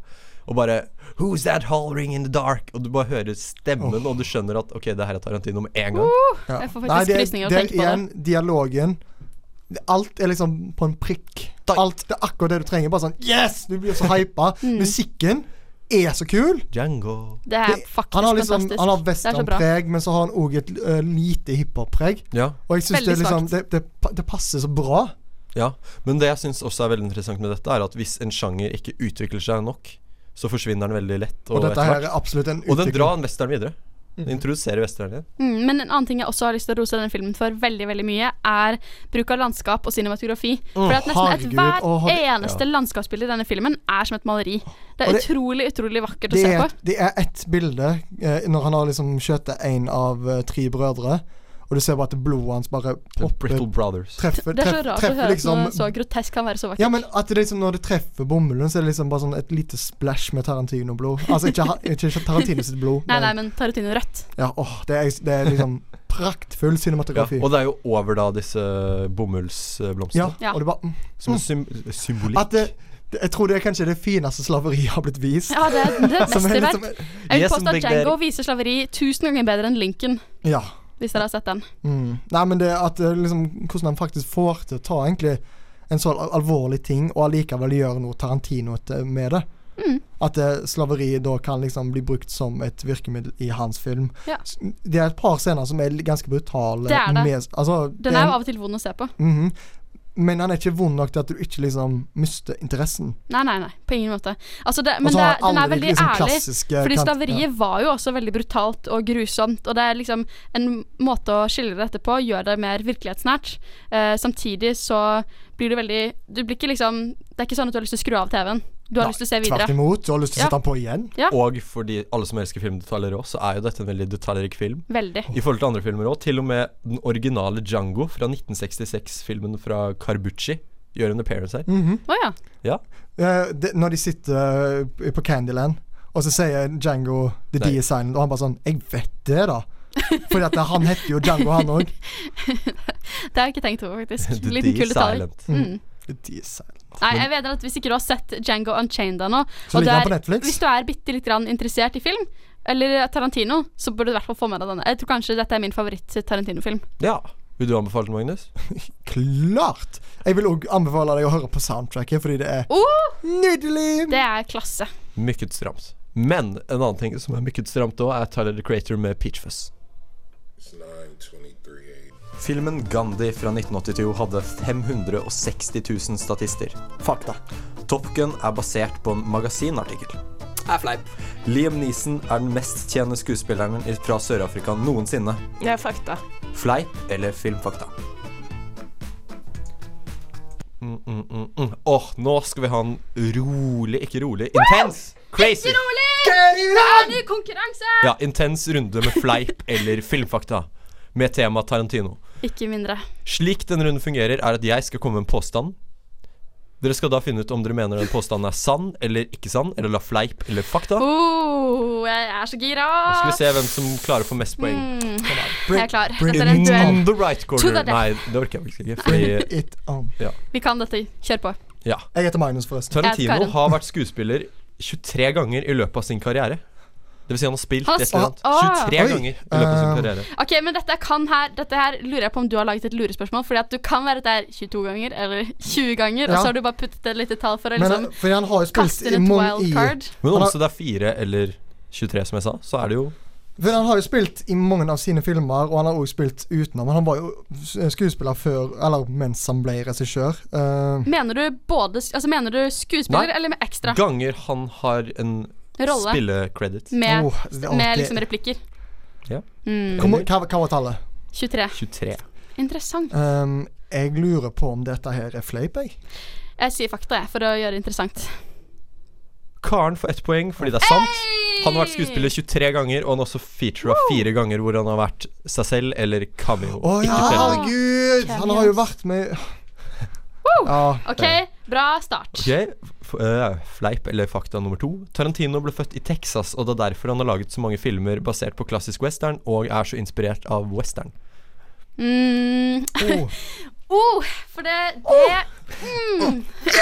Og bare Who's that hollering in the dark? Og du bare hører stemmen, og du skjønner at ok, det her er Tarantino med en gang.
Ja.
Jeg får
Nei,
faktisk
det,
krysninger av å
det er
tenke på det.
igjen dialogen. Alt er liksom på en prikk. Alt det er akkurat det du trenger. Bare sånn Yes! Du blir så hypa. Musikken er så kul.
Django.
Mm. Det er
Det-
faktisk
han har liksom
fantastisk.
Han har
det er så bra.
westernpreg, men så har han òg et eh, lite hiphop-preg.
Ja.
Og jeg syns
Veldig
det, er liksom,
svakt.
det, det, pa- det passer så bra.
Ja, men det jeg syns også er veldig interessant med dette, er at hvis en sjanger ikke utvikler seg nok, så forsvinner den veldig lett.
Og,
etter
dette her er
hvert-
absolutt en
og den
utvikling. Mhm.
drar en western videre. Den introduserer western igjen.
Mm, men en annen ting jeg også har lyst til å rose denne filmen for veldig veldig mye, er bruk av landskap og cinematografi. For at nesten
herregud,
ethvert
å, har-
eneste landskapsbilde i denne filmen er som et maleri. Det
Og
er
det-
utrolig, utrolig vakkert å
Det
se
er,
på.
det er ett bilde eh, når han har liksom skjøtet én av eh, tre brødre, og du ser bare at blodet hans bare
The
popper
Brittle Brothers.
Treffer,
Det er så rart å
treffer,
høre
treffer liksom
at noe så grotesk kan være så vakkert.
Ja, men at det liksom når det treffer bomullen, så er det liksom bare sånn et lite splash med Tarantino-blod. Altså ikke, ha- ikke Tarantino sitt blod.
Nei, nei, men Tarantino rødt.
Ja, åh, det, er, det er liksom praktfull
Ja,
cinematografi.
og det er jo over da disse eh, bomullsblomstene.
Ja,
Ja.
og det bare mm.
Som en sym eh, symbolikk.
At det, det, jeg tror det er kanskje det fineste slaveriet har blitt vist.
Ja, det er det er et
Som er liksom-
mesterverk. Jeg vil
Yes,
påstå
big
at Django viser slaveri tusen ganger bedre enn Lincoln,
Ja.
hvis dere har sett den.
Mm. Nei, men det at eh, liksom Hvordan han faktisk får til å ta egentlig en så al- alvorlig ting, og allikevel gjøre noe Tarantino-ete med det.
Mm.
At eh, slaveri da kan liksom bli brukt som et virkemiddel i hans film.
Ja.
S- Det er et par scener som er li- ganske brutale.
Det er det.
med- altså, det
Den er
en-
jo av og til vond å se på.
Mhm. Men han er ikke vond nok til at du ikke liksom mister interessen.
Nei, nei, nei, på ingen måte. Altså det,
Og
men
så
det,
har
den er
alle de
veldig
liksom
ærlig.
klassiske
Fordi
kant-
slaveriet var jo også veldig brutalt og grusomt, og det er liksom en måte å skille dette på, gjør det mer virkelighetsnært. Eh, samtidig så blir du veldig Du blir ikke liksom Det er ikke sånn at du har lyst til å skru av TV-en. Du har lyst til å se videre.
Tvert imot. Du har lyst til å
Ja.
sette han på igjen.
Ja.
Og for de, alle som elsker filmdetaljer òg, så er jo dette en veldig detaljrik film.
Veldig.
I forhold til andre filmer òg. Til og med den originale Django fra 1966-filmen fra Carbucci gjør en appearance her.
Mhm.
Å ja.
Ja.
Eh, det, når de sitter eh, på Candyland, og så sier Django The
Nei.
D is silent, og han bare sånn Jeg vet det, da. Fordi at han heter jo Django, han òg.
Det har jeg ikke tenkt over, faktisk.
The
Liten
D
kul detalj.
Silent.
Mhm. The D is silent.
Nei, jeg vet at Hvis ikke du har sett Django Unchained ennå,
Så
og du
ligger han
er-
på Netflix.
hvis du er bitte litt grann interessert i film, eller Tarantino, så burde du i hvert fall få med deg denne. Jeg tror kanskje dette er min favoritt-Tarantino-film.
Ja. Vil du anbefale den, Magnus?
Klart! Jeg vil òg anbefale deg å høre på soundtracket, fordi det er
Oh,
nydelig.
det er klasse.
Mykket stramt. Men en annen ting som er mykket stramt òg, er Tyler the Creator med Peach Fuzz.
It's 923 8.
Filmen Gandhi fra 1982 hadde 560 000 statister.
Fakta.
Top Gun er basert på en magasinartikkel.
er fleip.
Liam Neeson er den mest tjene skuespilleren fra Sør-Afrika noensinne.
Det er fakta.
Fleip eller filmfakta? Mm, mm, mm, mm. Åh, nå skal vi ha en rolig, ikke rolig, intens, crazy
Rolig! Konkurranse!
Ja, intens runde med fleip eller filmfakta. Med tema Tarantino.
Ikke mindre.
Slik den runden fungerer, er at jeg skal komme med en påstand. Dere skal da finne ut om dere mener den påstanden er sann eller ikke sann, eller la fleip eller fakta.
Oh, jeg er så gira.
Skal vi se hvem som klarer å få mest poeng.
Hmm. Mm. Jeg er klar. Dette er en duell.
In the right
To the
corner.
left.
Nei, det orker jeg faktisk ikke. Fordi,
It on.
Vi kan dette. Kjør på.
ja.
Jeg heter Magnus, forresten.
Jeg er
Tarantino
Karen.
har vært skuespiller 23 ganger i løpet av sin karriere. Det vil si han har spilt
Han har
et eller
spilt- Ah.
annet 23
Oi.
ganger i løpet av sin
Eh.
karriere.
Ok, men dette kan her Dette her lurer jeg på om du har laget et lurespørsmål. Fordi at du kan være der 22 ganger eller 20 ganger, og
Ja.
så har du bare puttet et lite tall for å
Men,
liksom
eh, fordi han har jo spilt
kaste
i
inn et
mange i
wildcard.
Men
Han
om
har-
så det er 4 eller 23, som jeg sa, så er det jo
For han har jo spilt i mange av sine filmer, og han har også spilt utenom. Men han var jo s- eh, skuespiller før, eller mens han ble regissør. Eh,
Mener du både sk- Altså, mener du skuespiller
Nei.
eller med ekstra?
Ganger han har en
Rolle. Hmm.
spillecredit.
Med,
Åh, det er
med
alltid-
liksom replikker.
Ja.
Mm.
hvor ma- hva, hva var tallet?
23.
23.
Interessant.
Eh, jeg lurer på om dette her er fleip, jeg.
Jeg sier fakta, jeg, for å gjøre det interessant.
Karen får ett poeng fordi det er sant. Han har vært skuespiller 23 ganger, og han har også featura fire ganger hvor han har vært seg selv eller cameo.
Å ja,
Ah,
Ikke selv.
herregud! Han har jo vært med Ja.
OK, bra start.
Ok, f- øh, Fleip eller fakta nummer to. Tarantino ble født i Texas, og det er derfor han har laget så mange filmer basert på klassisk western, og er så inspirert av western.
Mm. Oh,
Oh.
for det, Mm, det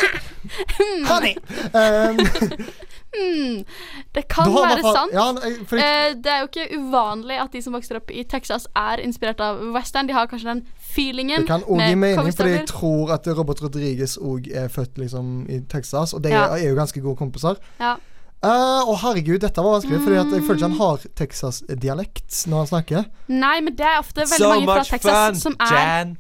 Um,
mm. Det kan
da har
være
man fa-
sant.
Ja, nei, fordi,
Eh, det er jo ikke uvanlig at de som vokser opp i Texas, er inspirert av western. De har kanskje den feelingen
det kan òg gi mening, fordi jeg
cowboystøvler.
tror at Robert Rodriguez òg er født liksom i Texas, og de
Ja.
er jo ganske gode kompiser.
Ja.
Eh, Å herregud, dette var vanskelig, Fordi at jeg føler ikke han har Texas-dialekt når han snakker.
Nei, men det er ofte veldig mange fra Texas som er
Jan!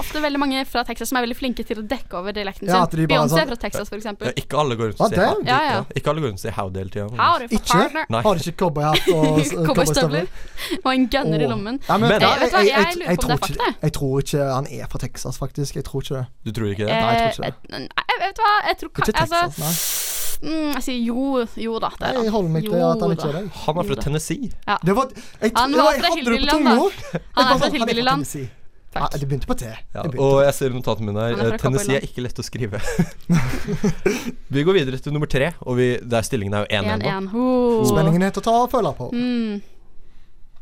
ofte veldig mange fra Texas som er veldig flinke til å dekke over dialekten
Ja, at
sin.
de bare
Beyoncé
sånn-
er fra Texas, for
Ja,
eksempel.
ikke alle går rundt
Ah,
og sier
damn.
howdy.
Ja, ja.
Ikke alle går rundt og sier howdy hele tida.
Howdy for
Ikke?
partner.
Nei.
Har de ikke cowboyhatt og s-
Cowboystøvler.
cowboystøvler?
Og en gunner i
Åh.
lommen.
Ja,
Men-
da-
Eh, vet du hva, jeg lurer på om
tror
det er
ikke-
fakta, jeg.
Jeg tror ikke han er fra Texas, faktisk. Jeg tror ikke det.
Du tror ikke det?
Nei, jeg tror ikke
Eh,
det.
et- nei, vet du hva, jeg tror
Ikke
kan,
Texas,
altså, mm, Jeg sier jo, jo da. Det er
Jeg holder meg til
Jo
at han ikke er
da.
det.
Han er
Eh, Jo
fra
da.
Tennessee.
det var, jeg,
Han
det
var fra
jeg hadde det på
Hillbilland, da.
tunga. Jeg
fra
bare sånn,
Hillbilland.
Tennessee.
Takk.
Ja, det begynte på T. Det
Ja,
begynte
og
på-
jeg ser i notatene mine
Han
her
er fra
eh, Tennessee er
Cowboyland.
ikke lett å skrive. vi går videre til nummer tre, og vi, der stillingen er jo 1-1 nå.
1-1. Ho.
Spenningen er til å ta og føle på.
Mm.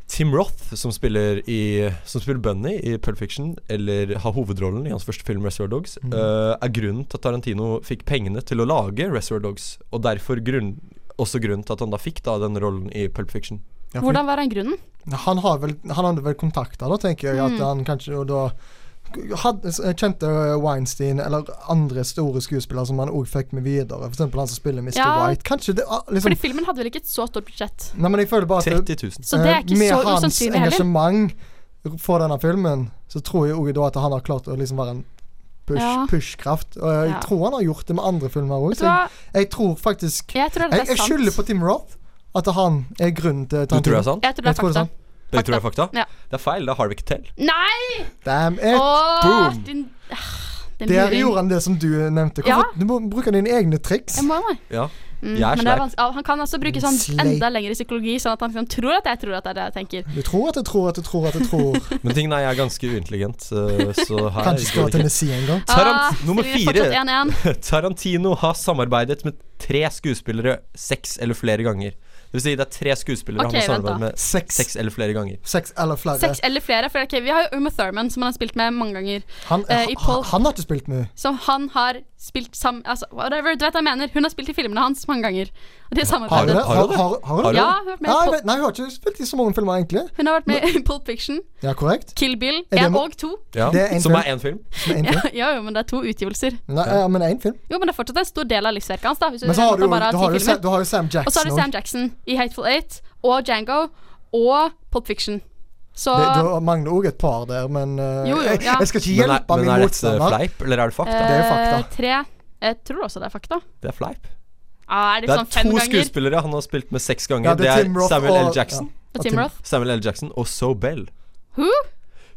Tim Roth, som spiller, i, som spiller Bunny i Pulp Fiction, eller har hovedrollen i hans første film, Reservoir Dogs,
Mm.
eh, er grunnen til at Tarantino fikk pengene til å lage Reservoir Dogs, og derfor grunn, også grunnen til at han da fikk da den rollen i Pulp Fiction.
Ja, for-
Hvordan var han grunnen?
Han, har vel, han hadde vel kontakter, da, tenker jeg.
Mm.
At han kanskje og da hadde, kjente Weinstein eller andre store skuespillere som han òg fikk med videre. F.eks. han som spiller Mr.
Ja.
White. Kanskje det ah, liksom,
Fordi filmen hadde vel ikke et så stort budsjett.
Nei, men jeg føler bare at
30 000.
Så det er ikke
Eh, med
så
hans
usannsynlig heller.
engasjement for denne filmen, så tror jeg òg da at han har klart å liksom være en push,
Ja.
pushkraft. Og jeg
Ja.
tror han har gjort det med andre filmer òg.
Vet du hva,
Jeg tror faktisk
jeg
Jeg,
tror det er
jeg skylder
sant.
på Tim Roth. At han er grunnen til
Du tror det er sant?
Jeg tror det
Jeg
er
tror det er
fakta.
sant.
Dere tror det er fakta?
Ja.
Det er feil. Det er Harvey Kettel.
Nei!
Damn it!
Åh,
Boom.
din ah, Den
Der
luring.
gjorde han det som du nevnte.
Ja.
Hvorfor, Du må bruke dine egne triks.
Jeg må jo det.
Ja.
Mm,
Jeg er
men det er
sleip.
vanskelig- ah, han kan også bruke sånn
Sleip.
enda lengre psykologi, sånn at han liksom tror at jeg tror at det er det jeg tenker.
Du tror at jeg tror at jeg tror at jeg tror.
Men tingen er, jeg er ganske uintelligent, eh, så her
Kanskje skal
går det
til
ikke.
Nessie en gang.
Tarant- nummer
stillingen er
fire.
Ah, fortsatt 1-1.
Tarantino har samarbeidet med tre skuespillere seks eller flere ganger. Det vil si, det er tre skuespillere han
Ok,
har
vent da.
samarbeidet med
Seks.
seks eller flere ganger.
Seks eller flere.
Seks eh, eller flere. For ok, vi har jo Uma Thurman, som han har spilt med mange ganger.
Han,
eh, i Paul-
han, han har ikke spilt mye.
Som han har spilt sammen Altså, whatever, du vet hva jeg mener. Hun har spilt i filmene hans mange ganger. Og de har
Har du
samarbeidet.
det?
Har du det?
Har, har, har du det?
Ja, hun har vært med,
Nei,
i Pulp-
vet- nei, jeg har ikke spilt i så mange filmer, egentlig.
hun har vært med i Pulp Fiction,
Ja, korrekt.
Kill Bill
det
1
må-
og 2.
Ja.
Det er en
Som
film.
er én film.
Som er en
Ja,
film.
ja, jo, men det er to utgivelser.
Nei, ja, men én film.
Jo, men det er fortsatt en stor del av livsverket hans. da Hvis du
Men så har
regner
du, jo-
på Mm, bare
du, har
ti
jo, Sam-
filmer.
du har jo Sam
Og så har
Jackson
du
også.
Sam Jackson i Hateful Eight og Django og Pulp Fiction. Så
Det, du mangler òg et par der, men eh,
Jo, jo,
jeg,
ja.
jeg skal ikke
Men er,
hjelpe
men
min
er dette
motstander.
fleip, eller er det fakta?
det er jo fakta.
eh, tre Jeg tror også det er fakta.
Det er fleip.
Ah, er det,
Det er
sånn fem
to
ganger?
skuespillere han har spilt med seks ganger.
Ja,
det,
Tim
er
Roth
Samuel L.
og-
Jackson
Og Tim Roth.
Samuel L. Jackson og So Bell.
Who?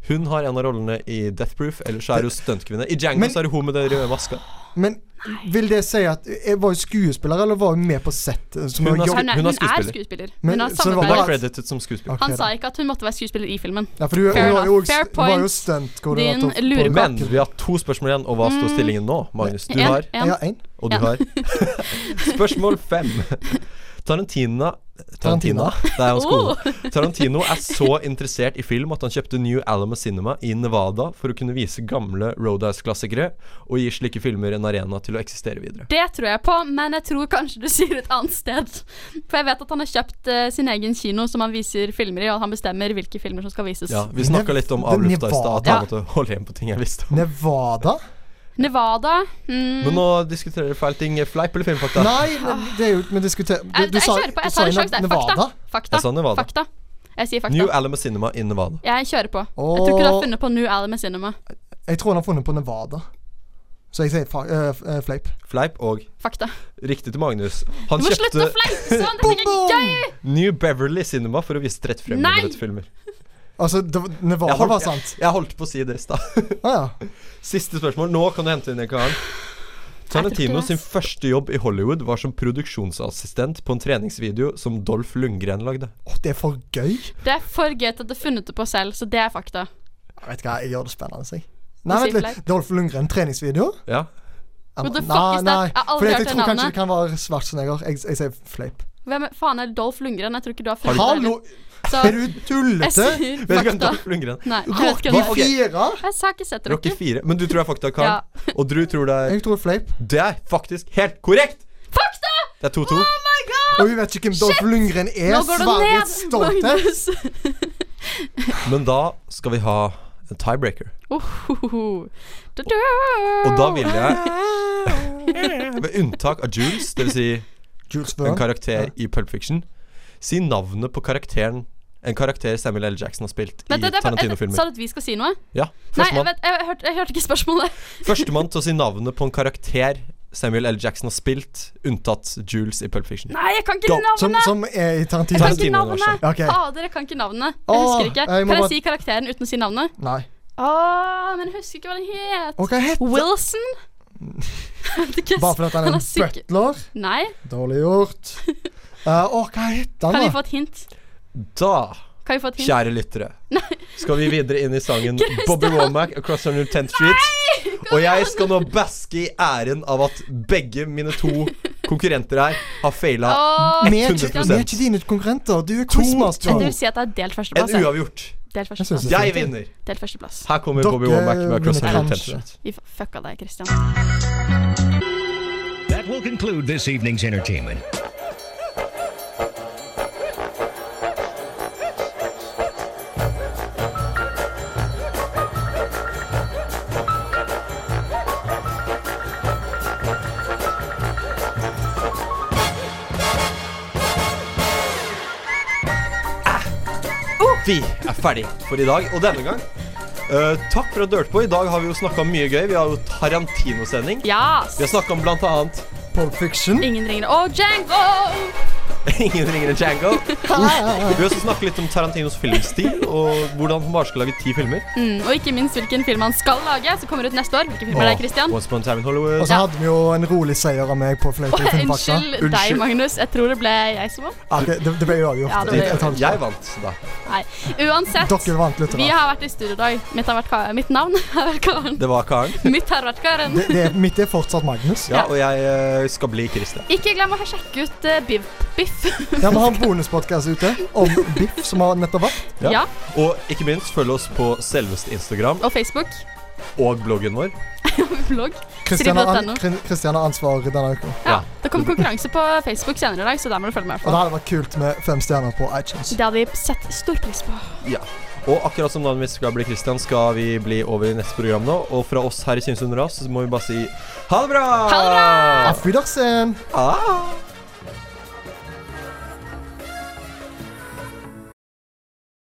Hun har en av rollene i Death Proof, ellers er hun stuntkvinne. I Django
Men-
så er det hun med den røde maska.
Ja. Men vil det si at jeg var jo skuespiller, eller var jo med på sett? eh, Som
Hun
har
har
jobbet-
Hun er,
Hun
hun
er
er
skuespiller.
skuespiller.
Men-
Hun har
så det var
Hun er
samarbeidet.
credited som skuespiller.
Ok,
Han
da.
sa ikke at hun måtte være skuespiller i filmen.
Ja, for du,
Fair
hun var jo
enough.
også-
Fair
var jo
point.
stuntkoordinator.
Din
på-
lurekopp.
Men vi har to spørsmål igjen, og hva står stillingen nå, Magnus? Du har
Mm. En,
Ja,
en.
én.
Og du
Ja.
har Spørsmål fem. Tarantina Tarantina, det er hans
Oh.
kone. Tarantino er så interessert i film at han kjøpte New Alamo Cinema i Nevada for å kunne vise gamle Roadhouse-klassikere, og gir slike filmer en arena til å eksistere videre.
Det tror jeg på, men jeg tror kanskje du sier et annet sted. For jeg vet at han har kjøpt eh, sin egen kino som han viser filmer i, og at han bestemmer hvilke filmer som skal vises.
Ja, Vi snakka litt om
Nev-
avlufta i stad, at han
Nevada.
måtte holde igjen på ting jeg visste om.
Nevada?
Nevada mm,
Men nå diskuterer dere feil ting. Fleip eller filmfakta?
Ah.
Nei, men det er jo Vi diskuterer
Eh, jeg, jeg kjører på. Jeg tar en sjanse. Det er Fakta. Fakta.
Jeg sa Nevada.
Fakta. Jeg sier
New
fakta.
Alamo Cinema i Nevada.
Jeg kjører på. Jeg tror ikke du
Åh.
har funnet på New Alamo Cinema.
Jeg tror han har funnet på Nevada. Så jeg sier fa eh, f- eh, fleip.
Fleip og
Fakta.
riktig til Magnus. Han
Du må slutte
kjøpte
å fleise sånn! Det blir ikke gøy!
New Beverly Cinema for å vise rett frem
Nei!
filmer.
Altså, det, var- Nevada
Jeg holdt,
var sant.
jeg, jeg holdt på å si det i stad.
Å ja.
Siste spørsmål. Nå kan du hente inn en karen. Tarantino sin første jobb i Hollywood var som produksjonsassistent på en treningsvideo som Dolph Lundgren lagde.
Åh, det er for gøy.
Det er for gøy til at du har funnet det på selv, så det er fakta.
Jeg vet ikke hva, jeg gjør det spennende, jeg.
Du
Nei,
sier
vent litt.
fleip.
Dolph Lundgren, treningsvideo?
Ja.
Jeg
What
må-
the fuck is that? Jeg har aldri hørt
Fordi at jeg
det
tror kanskje
navnet.
det kan være Schwarzenegger. Jeg, jeg sier fleip.
Hvem er- faen er Dolph Lundgren? Jeg tror ikke du har funnet
Hallo!
Så
Er du
jeg
tullete?
sier
Vet du hvem
fakta.
Dolph Lundgren
Nei, jeg vet ikke
Rocky
hvem det er.
4?
Jeg har ikke sett
Rocky
Rocky.
4. Men du tror det er fakta, Karl. Og du tror det er
Jeg tror fleip.
Det er faktisk helt korrekt!
Fakta!
Det er 2-2.
Oh my god!
Og hun vet ikke hvem Dolph Lundgren er.
Nå går det ned,
Svarets stolthet.
Magnus.
Men da skal vi ha en tiebreaker.
Ohohoho. Da-da.
Og da vil jeg Ved unntak av Jules, dvs. Si
Jules
en
Verne.
karakter i Pulp Fiction, si navnet på karakteren en karakter Samuel L. Jackson har spilt
Vent,
i
vent, vent, jeg- Sa
Tarantino-filmer.
du at vi skal si noe?
Ja,
Nei,
Førstemann
vent, jeg, hørte, jeg hørte ikke spørsmålet.
førstemann til å si navnet på en karakter Samuel L. Jackson har spilt, unntatt Jules i Pulp Fiction.
Nei, jeg kan ikke
Go.
Som,
navnet! Ah.
som er i
Jeg
Tarantino.
kan ikke
Tarantino-universet.
navnet!
Ok.
Fader, jeg kan ikke navnet. Jeg
Åh,
husker ikke.
jeg
Kan
må
jeg
bare-
si karakteren uten å si navnet?
Nei.
Åh, men jeg husker ikke hva den het.
Og hva heter
Wilson? Jeg vet ikke.
Bare fordi at han er
Han er
en
syk.
butler?
Nei.
Dårlig gjort. Uh, å, hva heter
Kan vi
han, da?
få et hint?
Da,
Kan vi få et hint?
kjære lyttere, skal vi videre inn i sangen
Kristian!
Bobby Womack Across 110th Street. Og jeg skal nå baske i æren av at begge mine to konkurrenter her har faila
Åh,
Vi er ikke,
100%.
vi er ikke dine konkurrenter. Du er
jeg
quizmaster.
vil si at det er delt førsteplass.
en
jeg.
uavgjort.
Delt
synes
førsteplass.
det.
Jeg vinner.
Delt førsteplass.
Her kommer Bobby
Dere
Womack med Across
vinner
110th
kanskje.
Street.
Vi fucka deg, Christian.
That will conclude this evening's entertainment.
Vi er ferdig for i dag, og denne gang. eh, takk for at du hørte på. I dag har vi jo snakka om mye gøy. Vi har jo Tarantino-sending.
Yes!
Vi har snakka om blant annet
Pulp Fiction.
Ingen ringer. Åh, Django!
Ingen ringer enn Django. Vi har også snakket litt om Tarantinos filmstil, og hvordan han bare skal lage ti filmer.
Mm, og ikke minst hvilken film han skal lage, som kommer ut neste år. Hvilken film er det, Christian?
Og Once upon a time in Hollywood.
Og så hadde vi jo en rolig seier av meg på Fløyte
Åh,
i filmfakta.
unnskyld deg,
Unnskyld.
Magnus. Jeg tror det ble jeg som vant.
Ja, det, det, det ble jo avgjort.
Ja, det ble
Et halvt
Jeg vant da.
Nei. Uansett.
Dere vant litt.
Vi
Da.
har vært i studio i dag. Mitt, har vært Ka- mitt navn har vært Karen.
Det var Karen.
Mitt har vært Karen.
Det, det, mitt er fortsatt Magnus.
Ja, og jeg eh, skal bli Christian.
Ikke glem å sjekke ut eh, Biff. Biff.
Ja, Vi har en bonuspodkast ute om Biff, som har nettopp vært.
Ja.
Ja.
Og ikke minst følg oss på selveste Instagram
Og Facebook.
og bloggen vår.
Blogg.
Kristian har, an,
Siri.no.
Kri- Kristian har ansvar denne uka.
Ja. Det kommer konkurranse på Facebook senere i dag, så der må du følge med. i hvert
Og det
fall.
hadde vært kult med fem stjerner på iTunes.
Det hadde vi sett stor pris på.
Ja. Og akkurat som navnet mitt skal bli Christian, skal vi bli over i neste program nå. Og fra oss her i Synsund Ras så må vi bare si ha det bra!
Ha det bra!
Auf Wiedersehen!
Ah.